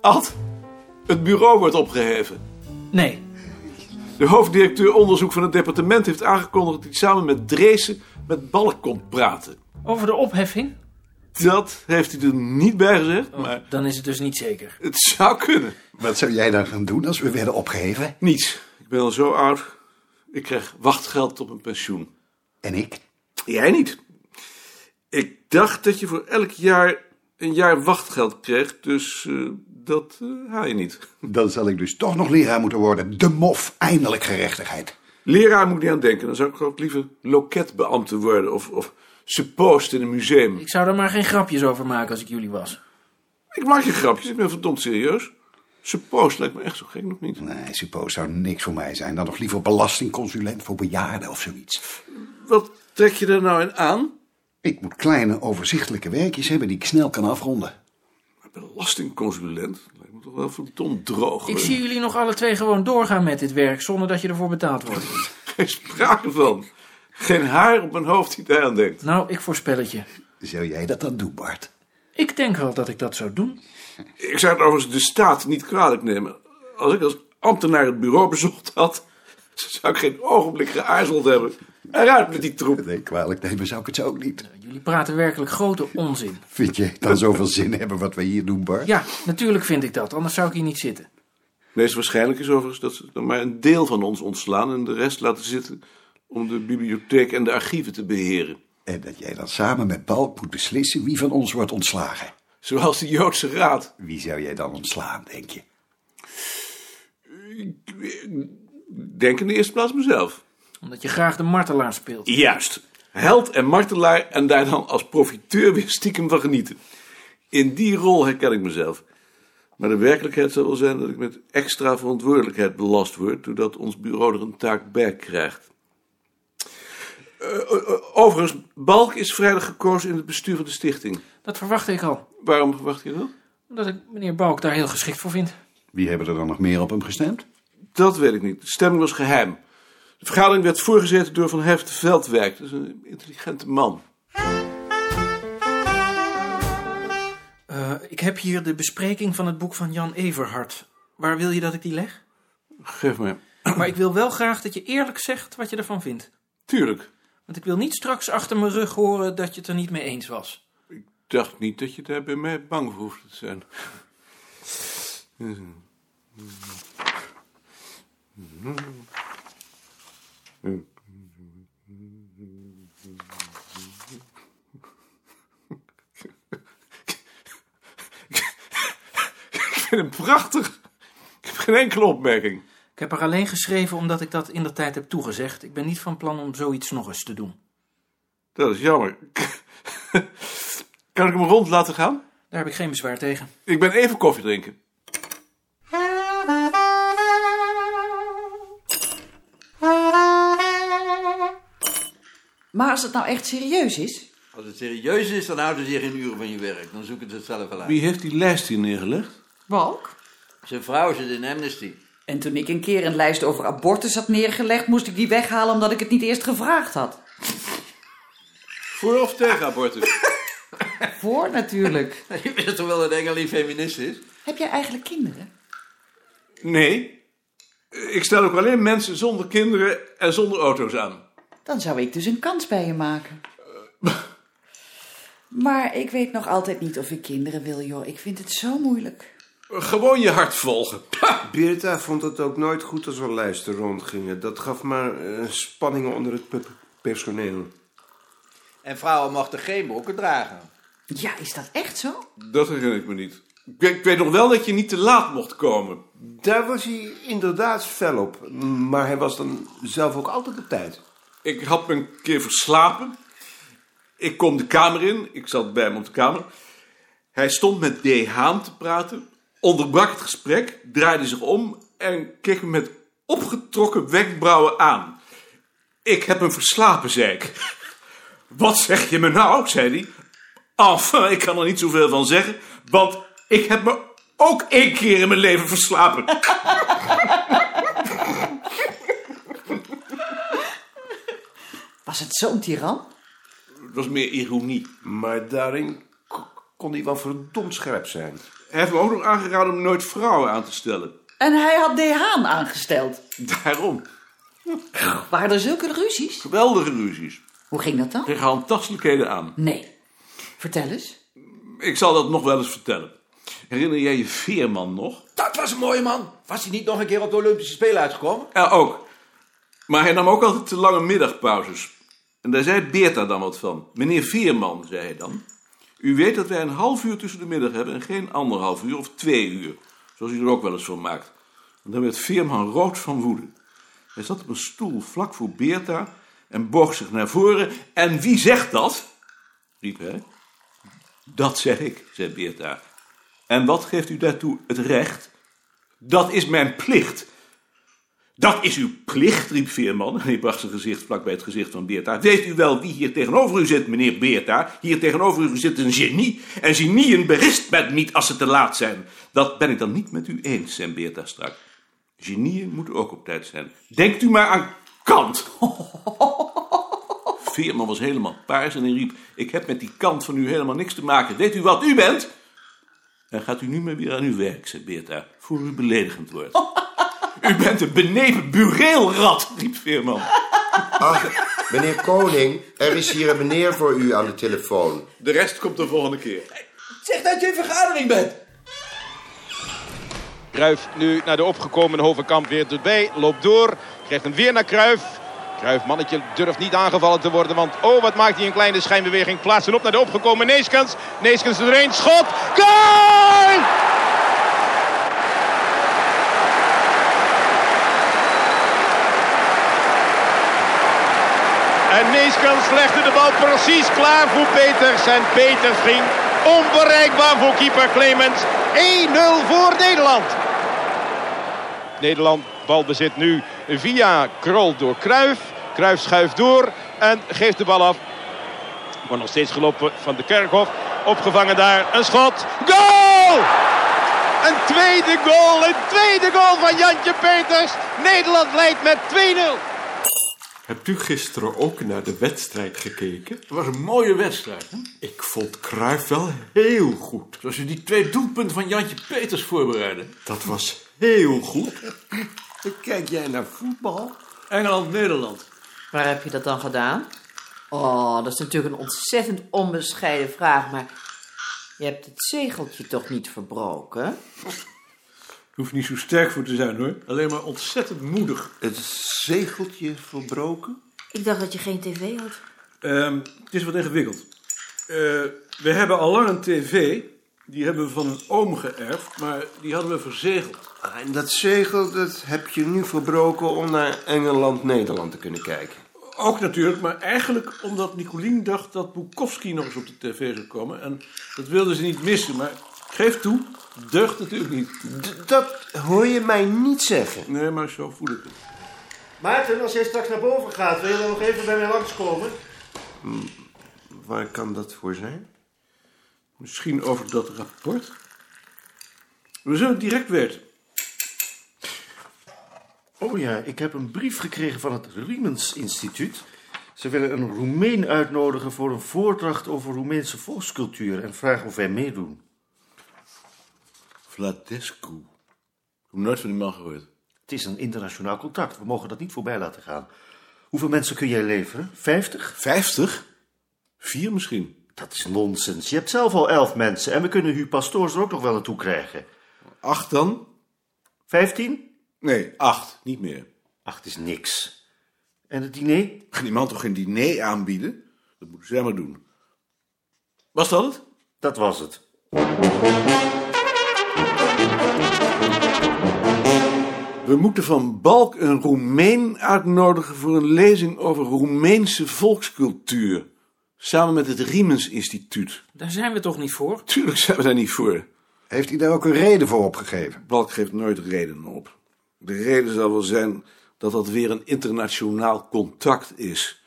Ad, het bureau wordt opgeheven. Nee. De hoofddirecteur onderzoek van het departement heeft aangekondigd dat hij samen met Dreesen met Balk komt praten. Over de opheffing? Dat heeft hij er niet bij gezegd, maar Dan is het dus niet zeker. het zou kunnen. Wat zou jij dan gaan doen als we werden opgeheven? Niets. Ik ben al zo oud. Ik krijg wachtgeld op mijn pensioen. En ik? Jij niet. Ik dacht dat je voor elk jaar een jaar wachtgeld kreeg, dus eh, dat eh, haal je niet. Dan zal ik dus toch nog leraar moeten worden. De mof, eindelijk gerechtigheid. Leraar moet ik niet aan denken. Dan zou ik ook liever loketbeambte worden of, of suppost in een museum. Ik zou er maar geen grapjes over maken als ik jullie was. Ik maak je grapjes, ik ben verdomd serieus. Suppost lijkt me echt zo gek nog niet. Nee, suppose zou niks voor mij zijn. Dan nog liever belastingconsulent voor bejaarden of zoiets. Wat trek je daar nou in aan? Ik moet kleine, overzichtelijke werkjes hebben die ik snel kan afronden. Belastingconsulent? Lijkt me toch wel verdomd droog. Ik hoor. zie jullie nog alle twee gewoon doorgaan met dit werk zonder dat je ervoor betaald wordt. Geen sprake van. Geen haar op mijn hoofd die daar aan denkt. Nou, ik voorspel het je. Zou jij dat dan doen, Bart? Ik denk wel dat ik dat zou doen. Ik zou het overigens de staat niet kwalijk nemen. Als ik als ambtenaar het bureau bezocht had, zou ik geen ogenblik geaarzeld hebben. Eruit met die troep. Nee, kwalijk nemen zou ik het zo ook niet. Jullie praten werkelijk grote onzin. Vind je dan zoveel zin hebben wat wij hier doen, Bart? Ja, natuurlijk vind ik dat, anders zou ik hier niet zitten. Meest waarschijnlijk is overigens dat ze er maar een deel van ons ontslaan en de rest laten zitten om de bibliotheek en de archieven te beheren. En dat jij dan samen met Balk moet beslissen wie van ons wordt ontslagen. Zoals de Joodse Raad. Wie zou jij dan ontslaan, denk je? Ik Denk in de eerste plaats mezelf. Omdat je graag de martelaar speelt. Juist. Held en martelaar en daar dan als profiteur weer stiekem van genieten. In die rol herken ik mezelf. Maar de werkelijkheid zal wel zijn dat ik met extra verantwoordelijkheid belast word, doordat ons bureau er een taak bij krijgt. Eh, eh, eh, overigens, Balk is vrijdag gekozen in het bestuur van de stichting. Dat verwachtte ik al, Waarom verwacht je dat? omdat ik meneer Balk daar heel geschikt voor vind. Wie hebben er dan nog meer op hem gestemd? Dat weet ik niet. De stemming was geheim. De vergadering werd voorgezeten door Van Heft Veldwijk. Dat is een intelligente man. Eh, ik heb hier de bespreking van het boek van Jan Everhart. Waar wil je dat ik die leg? Geef me. Maar ik wil wel graag dat je eerlijk zegt wat je ervan vindt. Tuurlijk. Want ik wil niet straks achter mijn rug horen dat je het er niet mee eens was. Ik dacht niet dat je daar bij mij bang voor hoefde te zijn. Ik vind hem prachtig. Ik heb geen enkele opmerking. Ik heb er alleen geschreven omdat ik dat in de tijd heb toegezegd. Ik ben niet van plan om zoiets nog eens te doen. Dat is jammer. Kan ik hem rond laten gaan? Daar heb ik geen bezwaar tegen. Ik ben even koffie drinken. Maar als het nou echt serieus is, Als het serieus is, dan houden ze hier geen uren van je werk. Dan zoeken ze het zelf wel uit. Wie heeft die lijst hier neergelegd? Balk. Zijn vrouw zit in Amnesty. En toen ik een keer een lijst over abortus had neergelegd, moest ik die weghalen omdat ik het niet eerst gevraagd had. Voor of tegen abortus? Voor natuurlijk. Je bent toch wel dat Engelie feminist is? Heb jij eigenlijk kinderen? Nee. Ik stel ook alleen mensen zonder kinderen en zonder auto's aan. Dan zou ik dus een kans bij je maken. Maar ik weet nog altijd niet of ik kinderen wil, joh. Ik vind het zo moeilijk. Gewoon je hart volgen. Beerta vond het ook nooit goed als er lijsten rondgingen. Dat gaf maar eh, spanningen onder het pe- personeel. En vrouwen mochten geen broeken dragen. Ja, is dat echt zo? Dat herinner ik me niet. Ik weet, ik weet nog wel dat je niet te laat mocht komen. Daar was hij inderdaad fel op. Maar hij was dan zelf ook altijd op tijd. Ik had me een keer verslapen. Ik kom de kamer in. Ik zat bij hem op de kamer. Hij stond met D. Haan te praten. Onderbrak het gesprek. Draaide zich om. En keek me met opgetrokken wenkbrauwen aan. Ik heb hem verslapen, zei ik. Wat zeg je me nou, zei hij. Enfin, ik kan er niet zoveel van zeggen. Want ik heb me ook één keer in mijn leven verslapen. Was het zo'n tiran? Het was meer ironie. Maar daarin k- kon hij wel verdomd scherp zijn. Hij heeft me ook nog aangeraden om nooit vrouwen aan te stellen. En hij had De Haan aangesteld. Daarom. Waren er zulke ruzies? Geweldige ruzies. Hoe ging dat dan? Tegen handtastelijkheden aan. Nee. Vertel eens. Ik zal dat nog wel eens vertellen. Herinner jij je Veerman nog? Dat was een mooie man. Was hij niet nog een keer op de Olympische Spelen uitgekomen? Ja, ook. Maar hij nam ook altijd te lange middagpauzes. En daar zei Beerta dan wat van. Meneer Veerman, zei hij dan. U weet dat wij een half uur tussen de middag hebben en geen anderhalf uur of twee uur. Zoals u er ook wel eens van maakt. En dan werd Veerman rood van woede. Hij zat op een stoel vlak voor Beerta en boog zich naar voren. En wie zegt dat? riep hij. Dat zeg ik, zei Beerta. En wat geeft u daartoe het recht? Dat is mijn plicht. Dat is uw plicht, riep Veerman. En hij bracht zijn gezicht vlak bij het gezicht van Beerta. Weet u wel wie hier tegenover u zit, meneer Beerta? Hier tegenover u zit een genie. En genieën berist men niet als ze te laat zijn. Dat ben ik dan niet met u eens, zei Beerta strak. Genieën moeten ook op tijd zijn. Denkt u maar aan Kant. Veerman was helemaal paars en hij riep... Ik heb met die Kant van u helemaal niks te maken. Weet u wat u bent? En gaat u nu maar weer aan uw werk, zei Beerta, voor u beledigend wordt. U bent een benepen bureelrat, riep Veerman. Ach, meneer Koning, er is hier een meneer voor u aan de telefoon. De rest komt de volgende keer. Zeg dat je in vergadering bent. Kruif nu naar de opgekomen Hovenkamp weer erbij. Loopt door. Krijgt hem weer naar Kruif. Kruif, mannetje, durft niet aangevallen te worden. Want oh, wat maakt hij een kleine schijnbeweging. Plaatst hem op naar de opgekomen Neeskens. Neeskens erheen. Schot. Goal! En Neeskens legde de bal precies klaar voor Peters. En Peters ging onbereikbaar voor keeper Clemens. 1-0 voor Nederland. Nederland balbezit nu via Krol door Kruif. Kruif schuift door en geeft de bal af. Wordt nog steeds gelopen van de Kerkhof. Opgevangen daar. Een schot. Goal! Een tweede goal. Een tweede goal van Jantje Peters. Nederland leidt met 2-0. Hebt u gisteren ook naar de wedstrijd gekeken? Het was een mooie wedstrijd. Hè? Ik vond Cruijff wel heel goed. Zoals ze die twee doelpunten van Jantje Peters voorbereiden. Dat was heel goed. Kijk jij naar voetbal? Engeland-Nederland. Waar heb je dat dan gedaan? Oh, dat is natuurlijk een ontzettend onbescheiden vraag, maar je hebt het zegeltje toch niet verbroken? Hoeft niet zo sterk voor te zijn hoor. Alleen maar ontzettend moedig. Het zegeltje verbroken? Ik dacht dat je geen tv had. Ehm, het is wat ingewikkeld. Eh, we hebben al lang een tv. Die hebben we van een oom geërfd, maar die hadden we verzegeld. Ah, en dat zegel dat heb je nu verbroken om naar Engeland-Nederland te kunnen kijken. Ook natuurlijk, maar eigenlijk omdat Nicolien dacht dat Bukowski nog eens op de tv zou komen. En dat wilden ze niet missen, maar geef toe, deugt natuurlijk niet. D- dat hoor je mij niet zeggen. Nee, maar zo voel ik het. Maarten, als jij straks naar boven gaat, wil je dan nog even bij mij langskomen? Waar kan dat voor zijn? Misschien over dat rapport? We zullen het direct weten. Oh ja, ik heb een brief gekregen van het Riemens Instituut. Ze willen een Roemeen uitnodigen voor een voordracht over Roemeense volkscultuur en vragen of wij meedoen. Vladescu. Ik heb nooit van die man gehoord. Het is een internationaal contact, we mogen dat niet voorbij laten gaan. Hoeveel mensen kun jij leveren? Vijftig? Vijftig? Vier misschien. Dat is nonsens. Je hebt zelf al elf mensen en we kunnen Hu Pastoors er ook nog wel naartoe krijgen. Acht dan? Vijftien? Nee, acht. Niet meer. Acht is niks. En het diner? Kan die man toch geen diner aanbieden? Dat moeten zij maar doen. Was dat het? Dat was het. We moeten van Balk een Roemeen uitnodigen voor een lezing over Roemeense volkscultuur. Samen met het Riemens Instituut. Daar zijn we toch niet voor? Tuurlijk zijn we daar niet voor. Heeft hij daar ook een reden voor opgegeven? Balk geeft nooit redenen op. De reden zal wel zijn dat dat weer een internationaal contact is.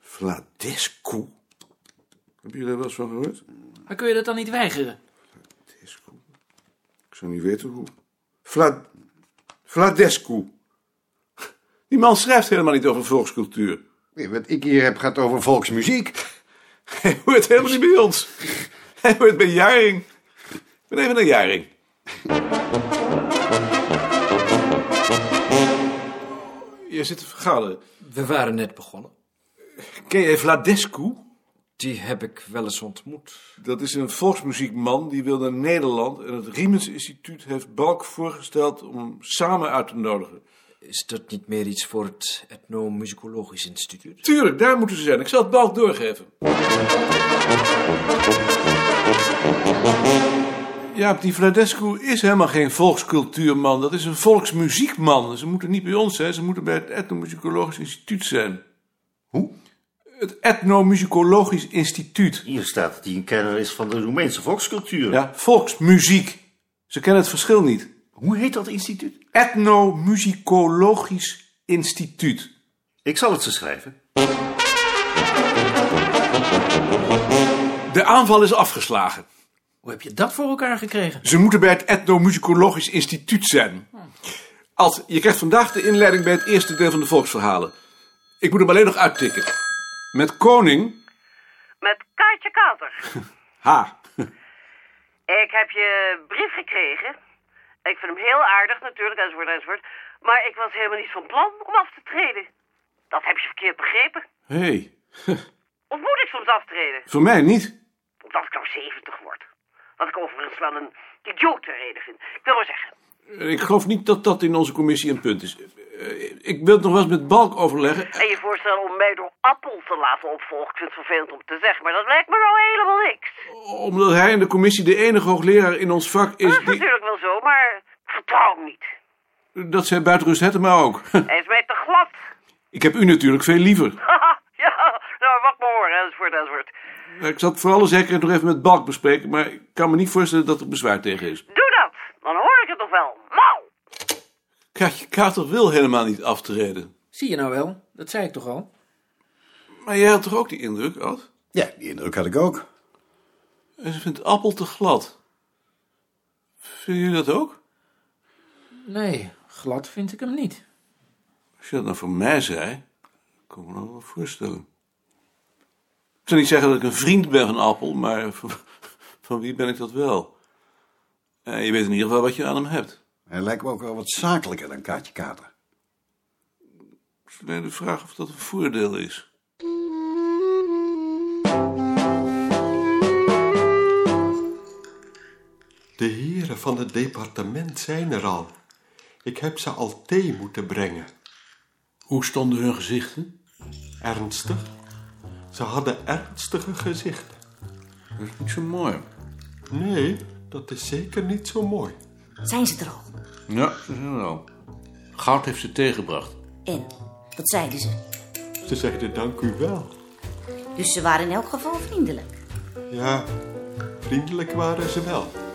Vladescu. Heb je daar wel eens van gehoord? Maar kun je dat dan niet weigeren? Ik zou niet weten hoe. Vla... Vladescu. Die man schrijft helemaal niet over volkscultuur. Nee, Wat ik hier heb gaat over volksmuziek. Hij hoort helemaal niet bij ons. Hij hoort bij Jaring. We nemen een jaring. Je zit te vergaderen. We waren net begonnen. Ken je Vladescu? Die heb ik wel eens ontmoet. Dat is een volksmuziekman die wil naar Nederland en het Riemens Instituut heeft Balk voorgesteld om hem samen uit te nodigen. Is dat niet meer iets voor het Ethnomusicologisch Instituut? Tuurlijk, daar moeten ze zijn. Ik zal het Balk doorgeven. Ja, die Vladescu is helemaal geen volkscultuurman. Dat is een volksmuziekman. Ze moeten niet bij ons zijn, ze moeten bij het Ethnomusicologisch Instituut zijn. Hoe? Het Ethnomusicologisch Instituut. Hier staat dat hij een kenner is van de Roemeense volkscultuur. Ja, volksmuziek. Ze kennen het verschil niet. Hoe heet dat instituut? Ethnomusicologisch Instituut. Ik zal het ze schrijven. De aanval is afgeslagen. Hoe heb je dat voor elkaar gekregen? Ze moeten bij het Ethnomusicologisch Instituut zijn. Ad, je krijgt vandaag de inleiding bij het eerste deel van de volksverhalen. Ik moet hem alleen nog uittikken. Met koning. Met Kaartje Kater. Ha. Ik heb je brief gekregen. Ik vind hem heel aardig natuurlijk, enzovoort, enzovoort. Maar ik was helemaal niet van plan om af te treden. Dat heb je verkeerd begrepen. Hé, hey, Of moet ik soms aftreden? voor mij niet. Omdat ik nou 70 word. Wat ik overigens wel een idiote reden vind. Ik wil maar zeggen. Ik geloof niet dat dat in onze commissie een punt is. Eh, Ik wil het nog wel eens met Balk overleggen. En je voorstel om mij door Appel te laten opvolgen. Ik vind het vervelend om te zeggen, maar dat lijkt me nou helemaal niks. Omdat hij in de commissie de enige hoogleraar in ons vak Dat is is die... natuurlijk wel zo, maar ik vertrouw hem niet. Dat zei buitenrust Hettema ook. Hij is mij te glad. Ik heb u natuurlijk veel liever. ja, nou, wat maar horen, enzovoort, enzovoort. Eh, Ik zal het voor alle zekerheid nog even met Balk bespreken... maar ik kan me niet voorstellen dat er bezwaar tegen is. Doe dat, dan hoor ik het nog wel. Mau! Kaatje Kater wil helemaal niet aftreden. Zie je nou wel? Dat zei ik toch al? Maar jij had toch ook die indruk, Ad? Ja, die indruk had ik ook. En ze vindt Appel te glad. Vinden jullie dat ook? Nee, glad vind ik hem niet. Als je dat nou voor mij zei, kan ik me dat wel voorstellen. Ik zou niet zeggen dat ik een vriend ben van Appel, maar van, van wie ben ik dat wel? Eh, je weet in ieder geval wat je aan hem hebt. Hij lijkt me ook wel wat zakelijker dan Kaatje Kater. Het is alleen de vraag of dat een voordeel is. De heren van het departement zijn er al. Ik heb ze al thee moeten brengen. Hoe stonden hun gezichten? Ernstig? Ze hadden ernstige gezichten. Dat is niet zo mooi. Nee, dat is zeker niet zo mooi. Zijn ze er al? Ja, ze zijn wel. Goud heeft ze tegengebracht. En? Wat zeiden ze? Ze zeiden dank u wel. Dus ze waren in elk geval vriendelijk. Ja, vriendelijk waren ze wel.